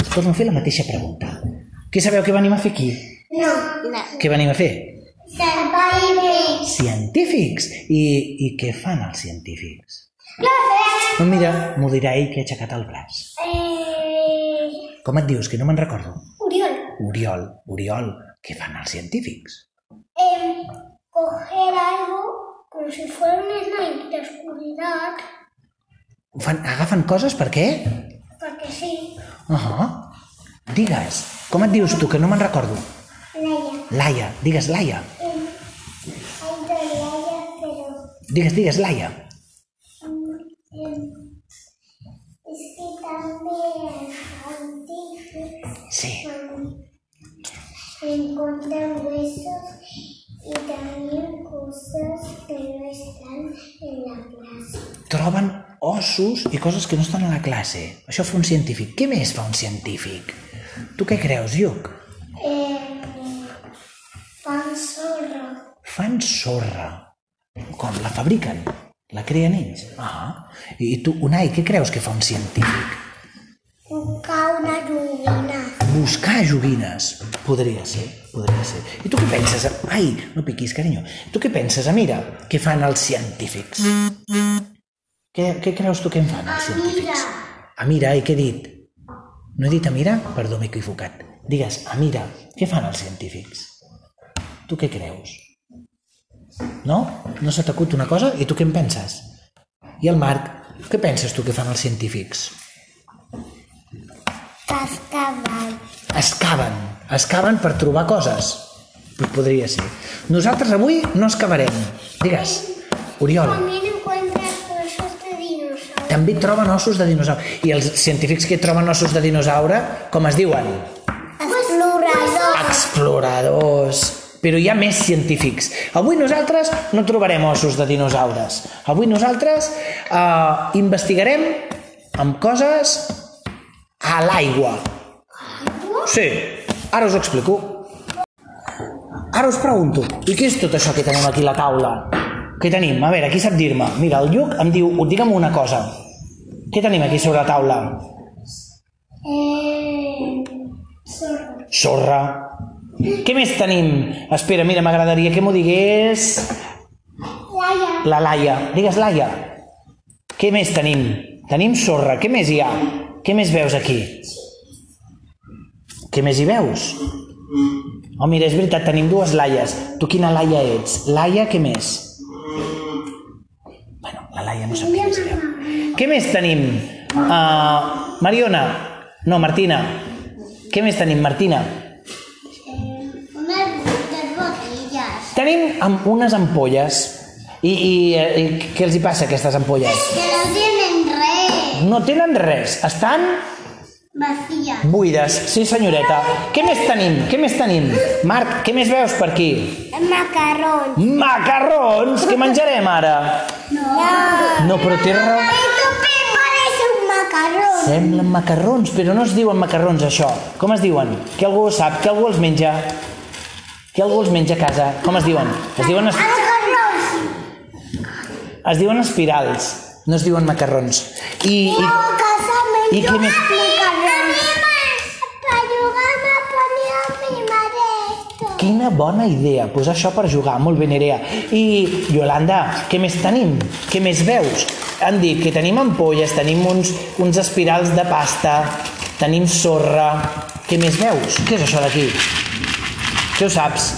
Us torno a fer Doncs la mateixa pregunta. Què sabeu que venim a fer aquí? No. No. Què venim a fer? Científics. Científics! I, i què fan els científics? No sé. No, mira, m'ho dirà ell que ha aixecat el braç. Eh... Com et dius, que no me'n recordo? Oriol. Oriol, Oriol, què fan els científics? Eh, coger algo como si fuera una sniper de oscuridad. Ho Fan, agafen coses per què? Porque sí. Uh -huh. Digues, com et dius tu, que no me'n recordo? Leia. Laia, digues Laia. Eh, hay de Leia, pero... Digues, digues Laia. Eh, es que también antiguos Sí. encuentran huesos y también cosas que no están en la plaza. Troben ossos i coses que no estan a la classe. Això fa un científic. Què més fa un científic? Tu què creus, Lluc? Eh, pan zorro. Fan sorra. Com? La fabriquen? La creen ells? Ah. I tu, Unai, què creus que fa un científic? Busca una lluvia. Buscar joguines. Podria ser, podria ser. I tu què penses? A... Ai, no piquis, carinyo. Tu què penses, Amira, que fan els científics? Què, què creus tu que en fan els científics? Amira, i què he dit? No he dit Amira? Perdó, m'he equivocat. Digues, Amira, què fan els científics? Tu què creus? No? No s'ha t'acut una cosa? I tu què en penses? I el Marc, què penses tu que fan els científics? Cascabel. es caven, es caven per trobar coses. Podria ser. Nosaltres avui no es cavarem. Digues, Oriol, También encuentras cosas de dinosaurios. també troben ossos de dinosaure. I els científics que troben ossos de dinosaure, com es diuen? Explorador. Exploradors. Però hi ha més científics. Avui nosaltres no trobarem ossos de dinosaures. Avui nosaltres eh, investigarem amb coses a l'aigua. Sí, ara us ho explico. Ara us pregunto, i què és tot això que tenim aquí a la taula? Què tenim? A veure, qui sap dir-me? Mira, el Lluc em diu, digue'm una cosa. Què tenim aquí sobre la taula? Eh, zorro. Sorra. Què més tenim? Espera, mira, m'agradaria que m'ho digués Laia. la Laia. Digues, Laia. Què més tenim? Tenim sorra. Què més hi ha? Què més veus aquí? Què més hi veus? Oh, mira, és veritat, tenim dues laies. Tu quina laia ets? Laia, què més? Bueno, la laia no sap què més hi ha. Què més tenim? Uh, Mariona. No, Martina. Què més tenim, Martina? Unas muchas botellas. Tenim amb unes ampolles. I, i, eh, I què els hi passa, a aquestes ampolles? Que no tienen red. No tenen res. Estan Vacías. buides. Sí, senyoreta. Què més tenim? Què més tenim? Marc, què més veus per aquí? Macarrón. Macarrons! Què menjarem ara? No. no. No, però té raó. Esto me parece un macarrón. Semblen macarrons, però no es diuen macarrons, això. Com es diuen? Que algú ho sap? Que algú els menja? Que algú els menja a casa? Com es diuen? Es diuen, es, Macarrón. es diuen espirals, no es diuen macarrons. I, No, i casame. ¿Y qué me- A mí me- para jugar me ponía mi madre esto. quina bona idea, posar això per jugar. Molt bé, Nerea. I, Yolanda, què més tenim? Què més veus? Han dit que tenim ampolles, tenim uns, uns espirals de pasta, tenim sorra... Què més veus? Què és això d'aquí? Què ho saps?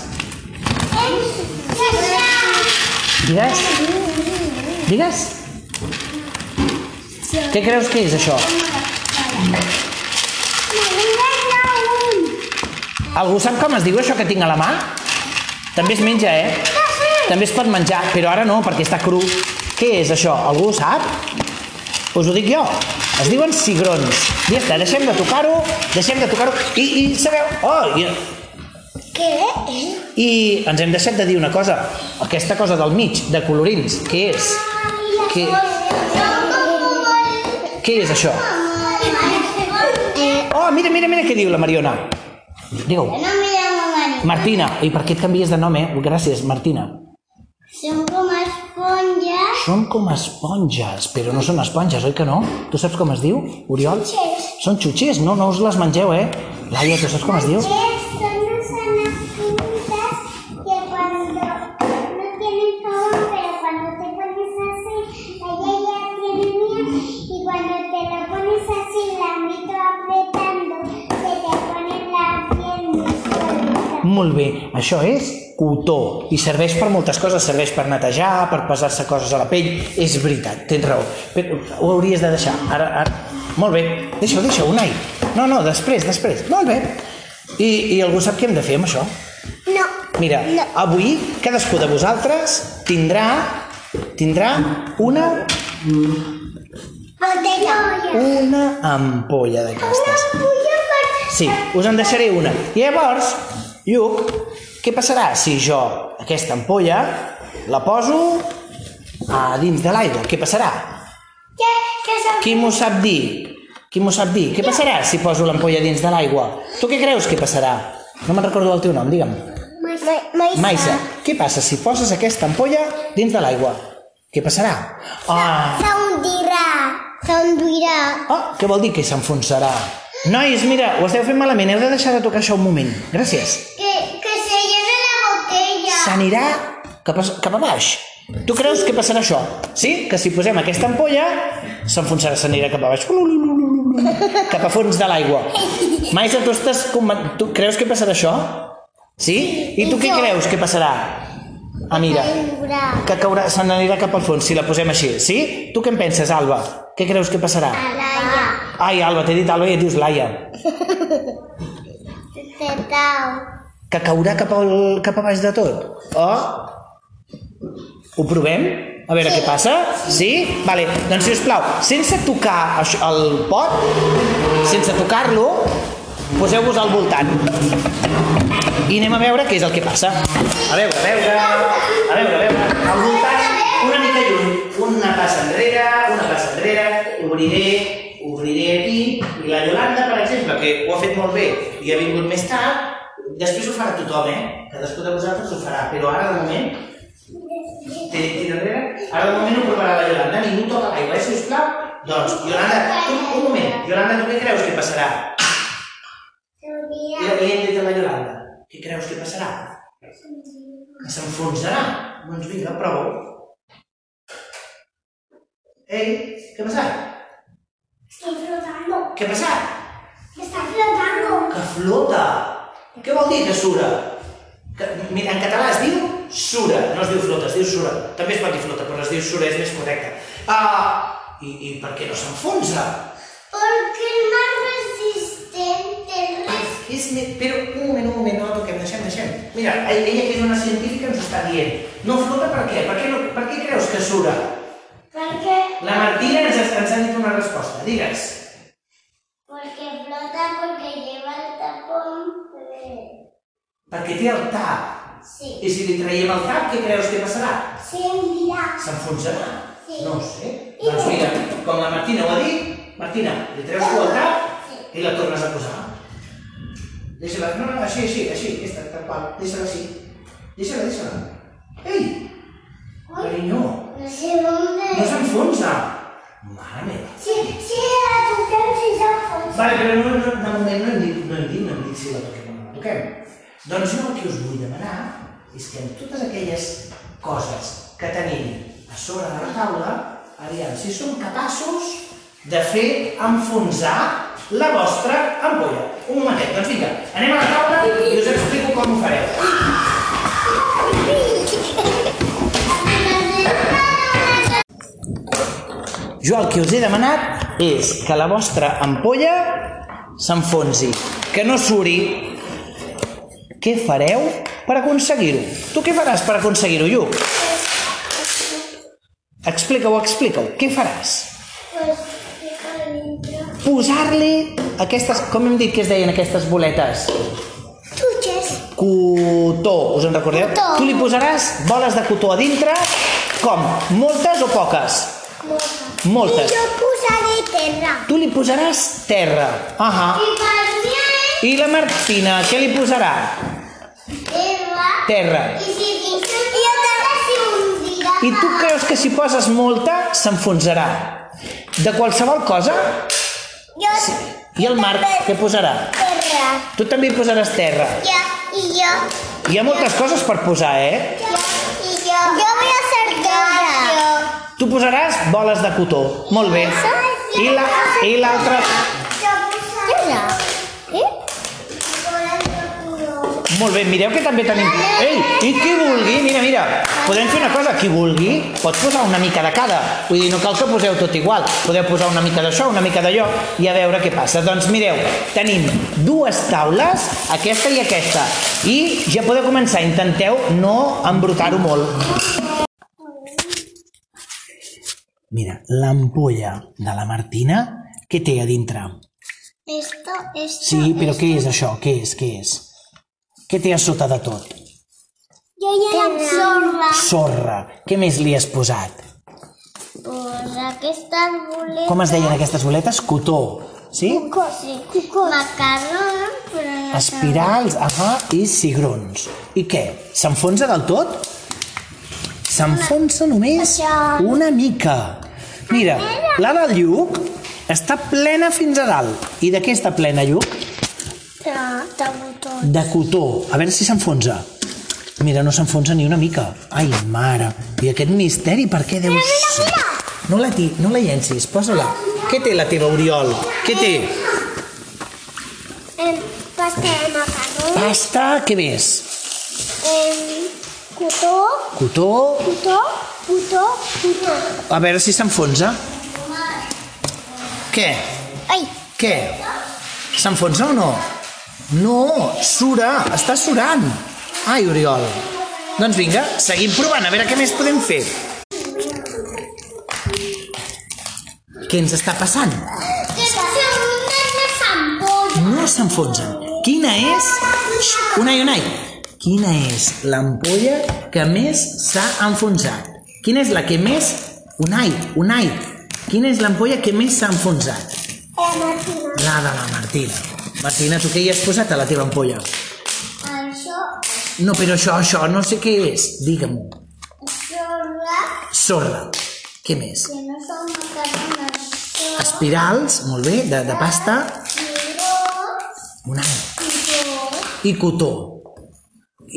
Digues? Digues? Què creus que és això? Algú sap com es diu això que tinc a la mà? També es menja, eh? També es pot menjar, però ara no, perquè està cru. Què és això? Algú ho sap? Us ho dic jo. Es diuen cigrons. Ja està, deixem de tocar-ho, deixem de tocar-ho. I, I sabeu... Oh, i, ¿Qué? I ens hem deixat de dir una cosa. Aquesta cosa del mig, de colorins, què és? Què, què és això? Oh, mira, mira, mira què diu la Mariona. Digue-ho. No me llamo María. Martina, i per què et canvies de nom, eh? Gràcies, Martina. Son como esponjas Són com esponges, però no són esponges, oi que no? Tu saps com es diu, Oriol? Xutxes. Són xutxers, no, no us les mengeu, eh? Laia, tu saps com es diu? Xutxes son unas anacondas que cuando no tienen favor, pero cuando te pones así, ella ya tiene miedo y cuando te lo pones así, la mito apretando, se te ponen la piel muy suelta. Molt bé, això és cotó i serveix per moltes coses, serveix per netejar, per pesar-se coses a la pell, és veritat, tens raó, però ho hauries de deixar, ara, ara, molt bé, deixa-ho, deixa-ho, Unai, no, no, després, després, molt bé, I, i algú sap què hem de fer amb això? No. Mira, No. avui cadascú de vosaltres tindrà tindrà una Botella. una ampolla d'aquestes. Una ampolla Sí, us en deixaré una. I llavors, Lluc, què passarà si jo aquesta ampolla la poso a dins de l'aigua? Què passarà? Que, que se'n Qui m'ho sap dir? Qui m'ho sap dir? Què passarà si poso l'ampolla dins de l'aigua? Tu què creus que passarà? No me'n recordo el teu nom, digue'm. Maïsa. Maïsa. Maisa, què passa si poses aquesta ampolla dins de l'aigua? Què passarà? Ah, S'hondirà. S'hondirà. oh, què vol dir que s'enfonsarà? Nois, mira, ho esteu fent malament, heu de deixar de tocar això un moment. Gràcies. Que, que se llena la botella. s'anirà cap a, cap a baix. Tu creus que passarà això? Sí? Que si posem aquesta ampolla, s'enfonsarà, s'anirà cap a baix. Cap a fons de l'aigua. Maisa, tu, estàs conven- tu creus que passarà això? Sí? I tu què creus que passarà? Ah, mira, S'hondirà. que caurà, se n'anirà cap al fons si la posem així, sí? Tu què en penses, Alba? Què creus que passarà? Alaia. Ai, Alba, t'he dit Alba i et dius Laia. Tetau. Que caurà cap, al, cap a baix de tot? O... Ho provem? A veure què passa? Sí? Vale, doncs sisplau, sense tocar això- el pot, sense tocar-lo, poseu-vos al voltant. I anem a veure què és el que passa. A veure, a veure, a veure, a veure. Al voltant, una mica lluny. Una passa enrere, una passa enrere, obriré, obriré aquí. I la Yolanda, per exemple, que ho ha fet molt bé i ha vingut més tard, després ho farà tothom, eh? Cadascú de vosaltres ho farà, però ara de moment... Té, tira enrere. Ara de moment ho provarà la Yolanda. Ningú toca l'aigua, eh, sisplau? Doncs, Yolanda, un, un moment. Yolanda, tu què creus que passarà? I S'hondirà. li hem dit a la Yolanda. Què creus que passarà? Que s'enfonsarà. Doncs vinga, prova-ho. Ei, què ha passat? Estic flotando. Què ha passat? Està flotando. Que flota. Què vol dir que sura? Que, mira, en català es diu sura, no es diu flota, es diu sura. També es pot dir flota, però es diu sura, és més correcte. Ah, i, i per què no s'enfonsa? Perquè el más resistente res. És me... Però un moment, un moment, no la toquem, deixem, deixem. Mira, ella que és una científica ens està dient. No flota per què? Per què, no, per què creus que sura? Perquè... La Martina ens, ens ha dit una resposta, digues. Porque flota, porque lleva el tapón de... Perquè té el tap. Sí. I si li traiem el tap, què creus que passarà? S'hondirà. S'enfonsarà? Sí. No ho sé. I Doncs no. mira, com la Martina ho ha dit, Martina, li treus tu el tap Sí. i la tornes a posar. Deixa-la, no, no, així, així, així, aquesta, tal qual, deixa-la així. Deixa-la, deixa-la. Ei! Carinyo, No sé no dónde... s'enfonsa! Mare meva. Si, si la toquem, si s'enfonsa. Vale, però no, no, de moment no hem dit, no hem dit, no hem dit si la toquem o no la toquem. Doncs jo el que us vull demanar és que amb totes aquelles coses que tenim a sobre de la taula, aviam si som capaços de fer enfonsar la vostra ampolla. Un momentet, doncs vinga, anem a la taula i us explico com ho fareu. Jo el que us he demanat és que la vostra ampolla s'enfonsi, que no suri. Què fareu per aconseguir-ho? Tu què faràs per aconseguir-ho, Lluc? Explica-ho, explica-ho. Què faràs? Pues, fica dentro. Posar-li aquestes, com hem dit que es deien aquestes boletes? Chuches. Cotó, us en recordeu? Cotó. Tu li posaràs boles de cotó a dintre, com? Moltes o poques? Moltes. I jo posaré terra. Tu li posaràs terra. Ahà. I per mi és I la Martina, què li posarà? terra. Terra. I si dic, i jo també s'hi hundirà I tu creus que si poses molta, s'enfonsarà. De qualsevol cosa, Jo... i el Marc, què posarà? Terra. Tu també hi posaràs terra. Jo, i jo, Hi ha moltes coses per posar, eh? jo, i jo. Jo vull acertar jo. Tu posaràs boles de cotó. Molt bé. I la- i l'altra... Jo posaré... Què? Volen de color. Molt bé, mireu que també tenim... Ei, i qui vulgui, mira, mira, podem fer una cosa, qui vulgui pot posar una mica de cada. Vull dir, no cal que poseu tot igual, podeu posar una mica d'això, una mica d'allò, i a veure què passa. Doncs mireu, tenim dues taules, aquesta i aquesta, i ja podeu començar, intenteu no embrutar-ho molt. Mira, l'ampolla de la Martina, què té a dintre? Esto, esto. Sí, però què és això? Què és? Què és? Què té a sota de tot? Jo ja l'absorba. Sorra. Què més li has posat? Pues aquestes boletes... Com es deien aquestes boletes? Cotó. Sí? Sí, macarrons, però no Espirals, ahà, i cigrons. I què? S'enfonsa del tot? S'enfonsa només Això. una mica. Mira, la del lluc està plena fins a dalt. I de què està plena, lluc? De, de botó. De cotó. A veure si s'enfonsa. Mira, no s'enfonsa ni una mica. Ai, mare. I aquest misteri, per què deu ser? No la, ti- no la llencis, posa-la. Què té la teva Oriol? Què té? Em, pasta de macarrons, Pasta, què més? em, cotó, Cotó. cotó, cotó, cotó. A veure si s'enfonsa. Què? Ai, Què? S'enfonsa o no? No, sura, està surant. Ai, Oriol. Doncs vinga, seguim provant, a veure què més podem fer. Què ens està passant? que són unes ampolles. No s'enfonsen. Quina és... Xxt, Unai, Unai. Quina és l'ampolla que més s'ha enfonsat? Quina és la que més... Unai, Unai. Quina és l'ampolla que més s'ha enfonsat? Eh, Martina. La de la Martina. Martina, tu què hi has posat a la teva ampolla? Això, No, però això, això, no sé què és. Digue-m'ho. això, la, Sorra. Què més? que no són macarrons, això, Espirals, molt bé, de, de pasta. cigrons, Unai. cotó. i cotó.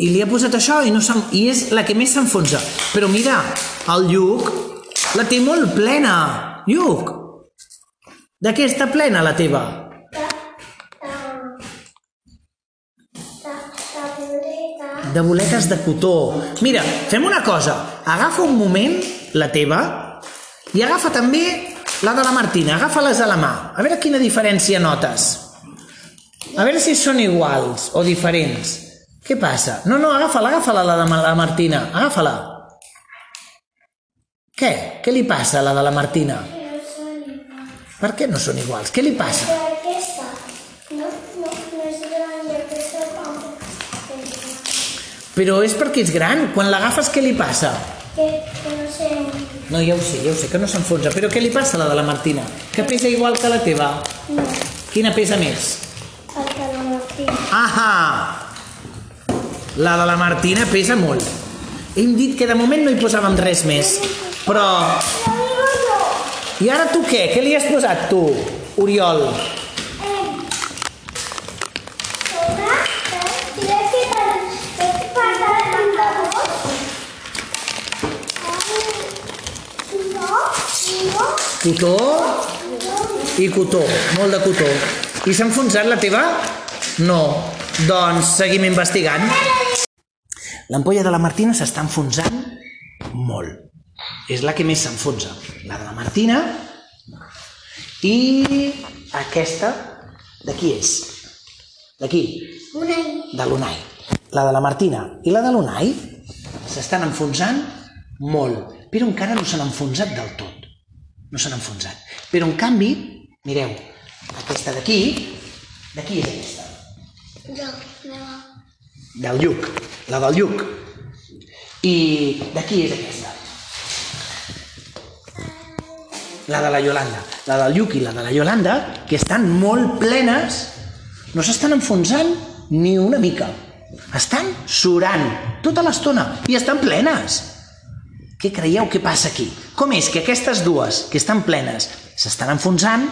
I li ha posat això i, no s'en- i és la que més s'enfonsa. Però mira, el lluc la té molt plena. Lluc, de què està plena la teva? De boletes de cotó. Mira, fem una cosa. Agafa un moment la teva i agafa també la de la Martina. Agafa-les a la mà. A veure quina diferència notes. A veure si són iguals o diferents. Què passa? No, no, agafa-la, agafa-la, la de Ma- la Martina. Agafa-la. Què? Què li passa a la de la Martina? Per què no són iguals? Què li passa? Però aquesta no, no, no és gran i aquesta com que, Però és perquè és gran. Quan l'agafes, què li passa? que no sé, No, ja ho sé, ja ho sé, que no s'enfonsa. Però què li passa a la de la Martina? Que pesa igual que la teva. no, Quina pesa més? falta la Martina. Ahà! La de la Martina pesa molt. Hem dit que de moment no hi posàvem res més. Però... I ara tu què? Què li has posat tu, Oriol? Cotó i cotó. Molt de cotó. I s'ha enfonsat la teva? No. Doncs seguim investigant. L'ampolla de la Martina s'està enfonsant molt. És la que més s'enfonsa. La de la Martina i aquesta de qui és? De qui? De l'Unai. La de la Martina i la de l'Unai s'estan enfonsant molt, però encara no s'han enfonsat del tot. No s'han enfonsat. Però, en canvi, mireu, aquesta d'aquí, de qui és aquesta? Del Lluc, la del Lluc. I de qui és aquesta? La de la Yolanda. La del Lluc i la de la Yolanda, que estan molt plenes, no s'estan enfonsant ni una mica. Estan surant tota l'estona i estan plenes. Què creieu que passa aquí? Com és que aquestes dues, que estan plenes, s'estan enfonsant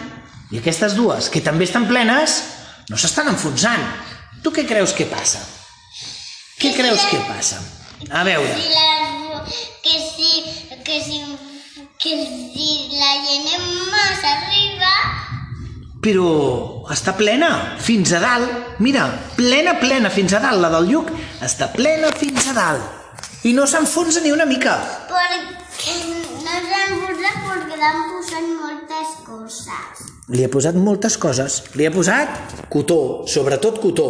i aquestes dues, que també estan plenes, no s'estan enfonsant? Tu què creus que passa? Què creus que passa? A veure, Si la, que si, que si, que si la llenem més arriba, però està plena, fins a dalt. Mira, plena, plena, fins a dalt. La del Lluc està plena fins a dalt. I no s'enfonsa ni una mica. perquè no s'han posat perquè l'han posat moltes coses. Li ha posat moltes coses. Li ha posat cotó, sobretot cotó.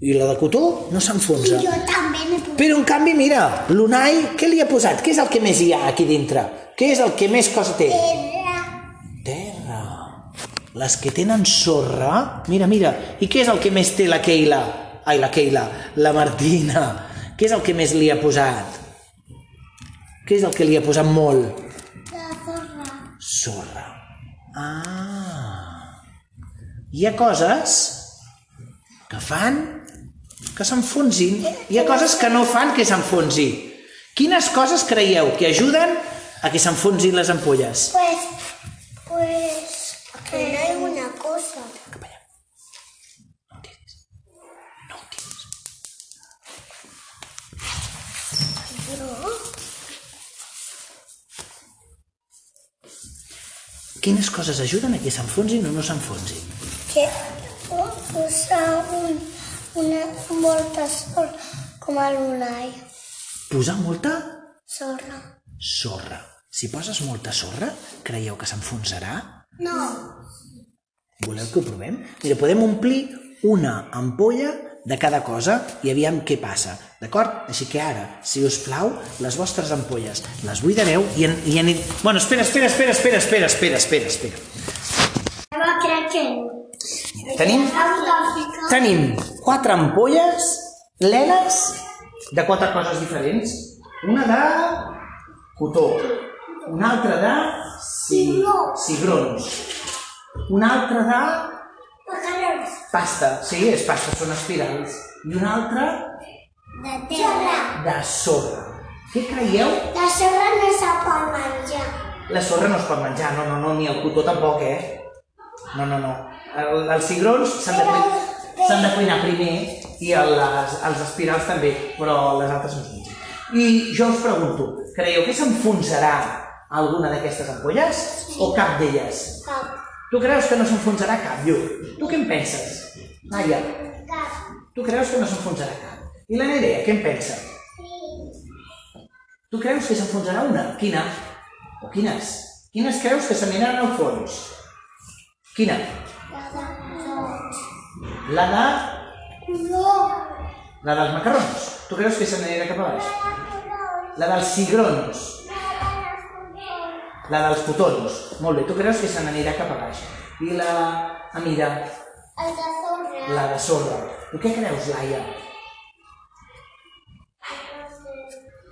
I la de cotó no s'enfonsa. Jo també n'he posat. Però en canvi, mira, l'Unai, què li ha posat? Què és el que més hi ha aquí dintre? Què és el que més cosa té? Pedra. Terra. Les que tenen sorra... Mira, mira, i què és el que més té la Keila? Ai, la Keila, la Martina. Què és el que més li ha posat? Què és el que li ha posat molt? La sorra. Sorra. Ah. Hi ha coses que fan que s'enfonsin. Hi ha coses que no fan que s'enfonsi. Quines coses creieu que ajuden a que s'enfonsin les ampolles? Pues, pues, que no hay una cosa. Cap allà. No ho tiris. No ho tiris. Quines coses ajuden a que s'enfonsin o no s'enfonsin? Que usa un, una molta sorra, com a l'Unai. Posar molta Sorra. sorra. Si poses molta sorra, creieu que s'enfonsarà? No. Voleu que ho provem? Mira, podem omplir una ampolla de cada cosa i aviam què passa, d'acord? Així que ara, si us plau, les vostres ampolles les buidareu i, en, i en... Bueno, espera, espera, espera, espera, espera, espera, espera, espera. Jo crec que no. Tenim, tenim quatre ampolles plenes de quatre coses diferents. Una de cotó, una altra de ci- cigrons, una altra de Macarons. pasta, sí, és pasta, són espirals, i una altra De terra. de sorra. Què creieu? La sorra no se pot menjar. La sorra no es pot menjar, no, no, no, ni el cotó tampoc, eh? No, no, no. El, els cigrons s'han de, cuinar, s'han de cuinar primer i el, les, els espirals també, però les altres no es mengen. I jo us pregunto, creieu que s'enfonsarà alguna d'aquestes ampolles o cap d'elles? Cap. Tu creus que no s'enfonsarà cap, Lluc? Tu què en penses? Maia, Cap. tu creus que no s'enfonsarà cap? I la Nerea, què en pensa? Tu creus que s'enfonsarà una? Quina? O quines? Quines creus que s'aniran al fons? Quina? La de color. La de... Color. La dels macarrons. Tu creus que se n'anirà cap a baix? La dels cigrons. La dels cotons. Molt bé, tu creus que se n'anirà cap a baix. I la... Ah, mira, El de sorra. la de sorra. Tu què creus, Laia?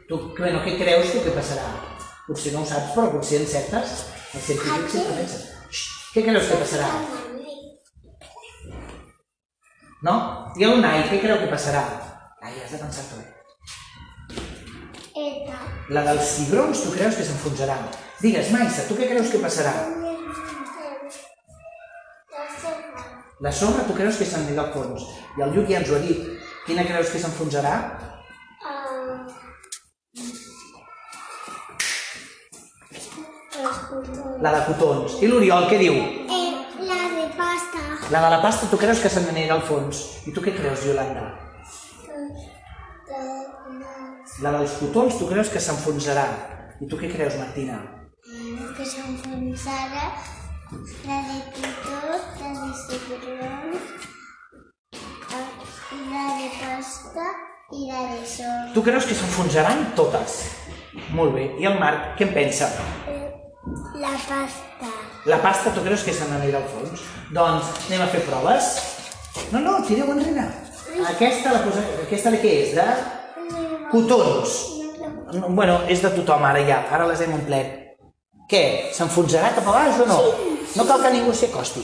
Tu, bueno, què creus tu que passarà? Potser no ho saps, però potser encertes. Els científics sempre pensen. Xxt, Què creus que passarà? No? I el Unai, què creu que passarà? Laia, has de pensar tu. Eta. La dels cigrons, tu creus que s'enfonsarà? Digues, Maisa, tu què creus que passarà? La sorra. La sorra, tu creus que s'anirà al fons? I el Lluc ja ens ho ha dit. Quina creus que s'enfonsarà? Ah. Els colors. La de cotons. I l'Oriol, què diu? Eh, la de pasta. La de la pasta, tu creus que se n'anirà al fons? I tu què creus, Yolanda? De, de, La dels cotons, tu creus que s'enfonsarà? I tu què creus, Martina? que s'enfonsarà, la de pitó, la de cigrons, eh, la de pasta i la de sol. Tu creus que s'enfonsaran totes? Molt bé. I el Marc, què en pensa? La pasta. La pasta, tu creus que se n'anirà al fons? Doncs anem a fer proves. No, no, tireu enrere. Aquesta, la posa... Aquesta de què és? De cotons. No, bueno, és de tothom ara ja. Ara les hem omplert. Què? S'enfonsarà cap a baix o no? No cal que ningú s'hi acosti.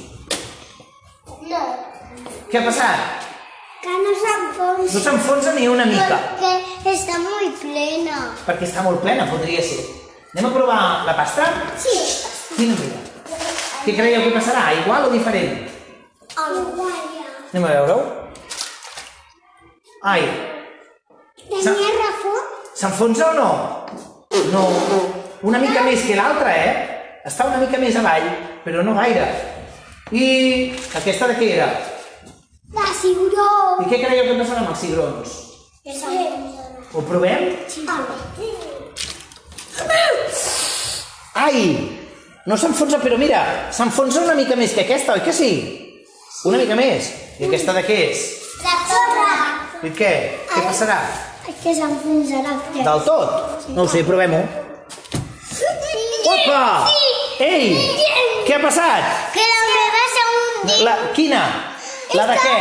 No, Què ha passat? que no No s'enfonsi. s'enfonsa ni una mica, Porque está muy plena. perquè està molt plena, podria ser. Anem a provar la pasta? Sí. Quina mira. Què creieu que passarà? Igual o diferent? Alguna. Anem a veure-ho. Ai, Tenia refú? s'enfonsa o no? No. Una mica més que l'altra, eh? Està una mica més avall, però no gaire. I aquesta de què era? De cigró. I què creieu que passarà amb els cigrons? Que s'enfonsa. Ho provem? Sí. Vale. Ai! No s'enfonsa, però mira, s'enfonsa una mica més que aquesta, oi que sí? Una mica més. I aquesta de què és? La sorra. I què? Què passarà? Que s'enfonsarà. Del tot? No ho sé, provem-ho. Opa! Ei! Què ha passat? Que la meva s'ha hundit. La, quina? La de què?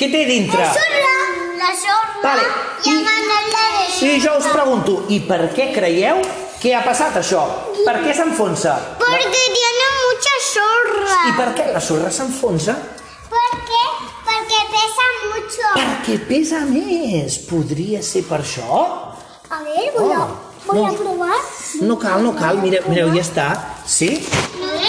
Què té dintre? Sorra. La sorra. Vale. I a Manela de I jo us pregunto, i per què creieu que ha passat això? Per què s'enfonsa? Porque tiene mucha sorra. I per què la sorra s'enfonsa? ¿Por qué? Porque pesa mucho. Perquè pesa més. Podria ser per això? A ver, voy a, Oh, voy no. a probar. No cal, no cal, mireu, mireu ja està. Sí?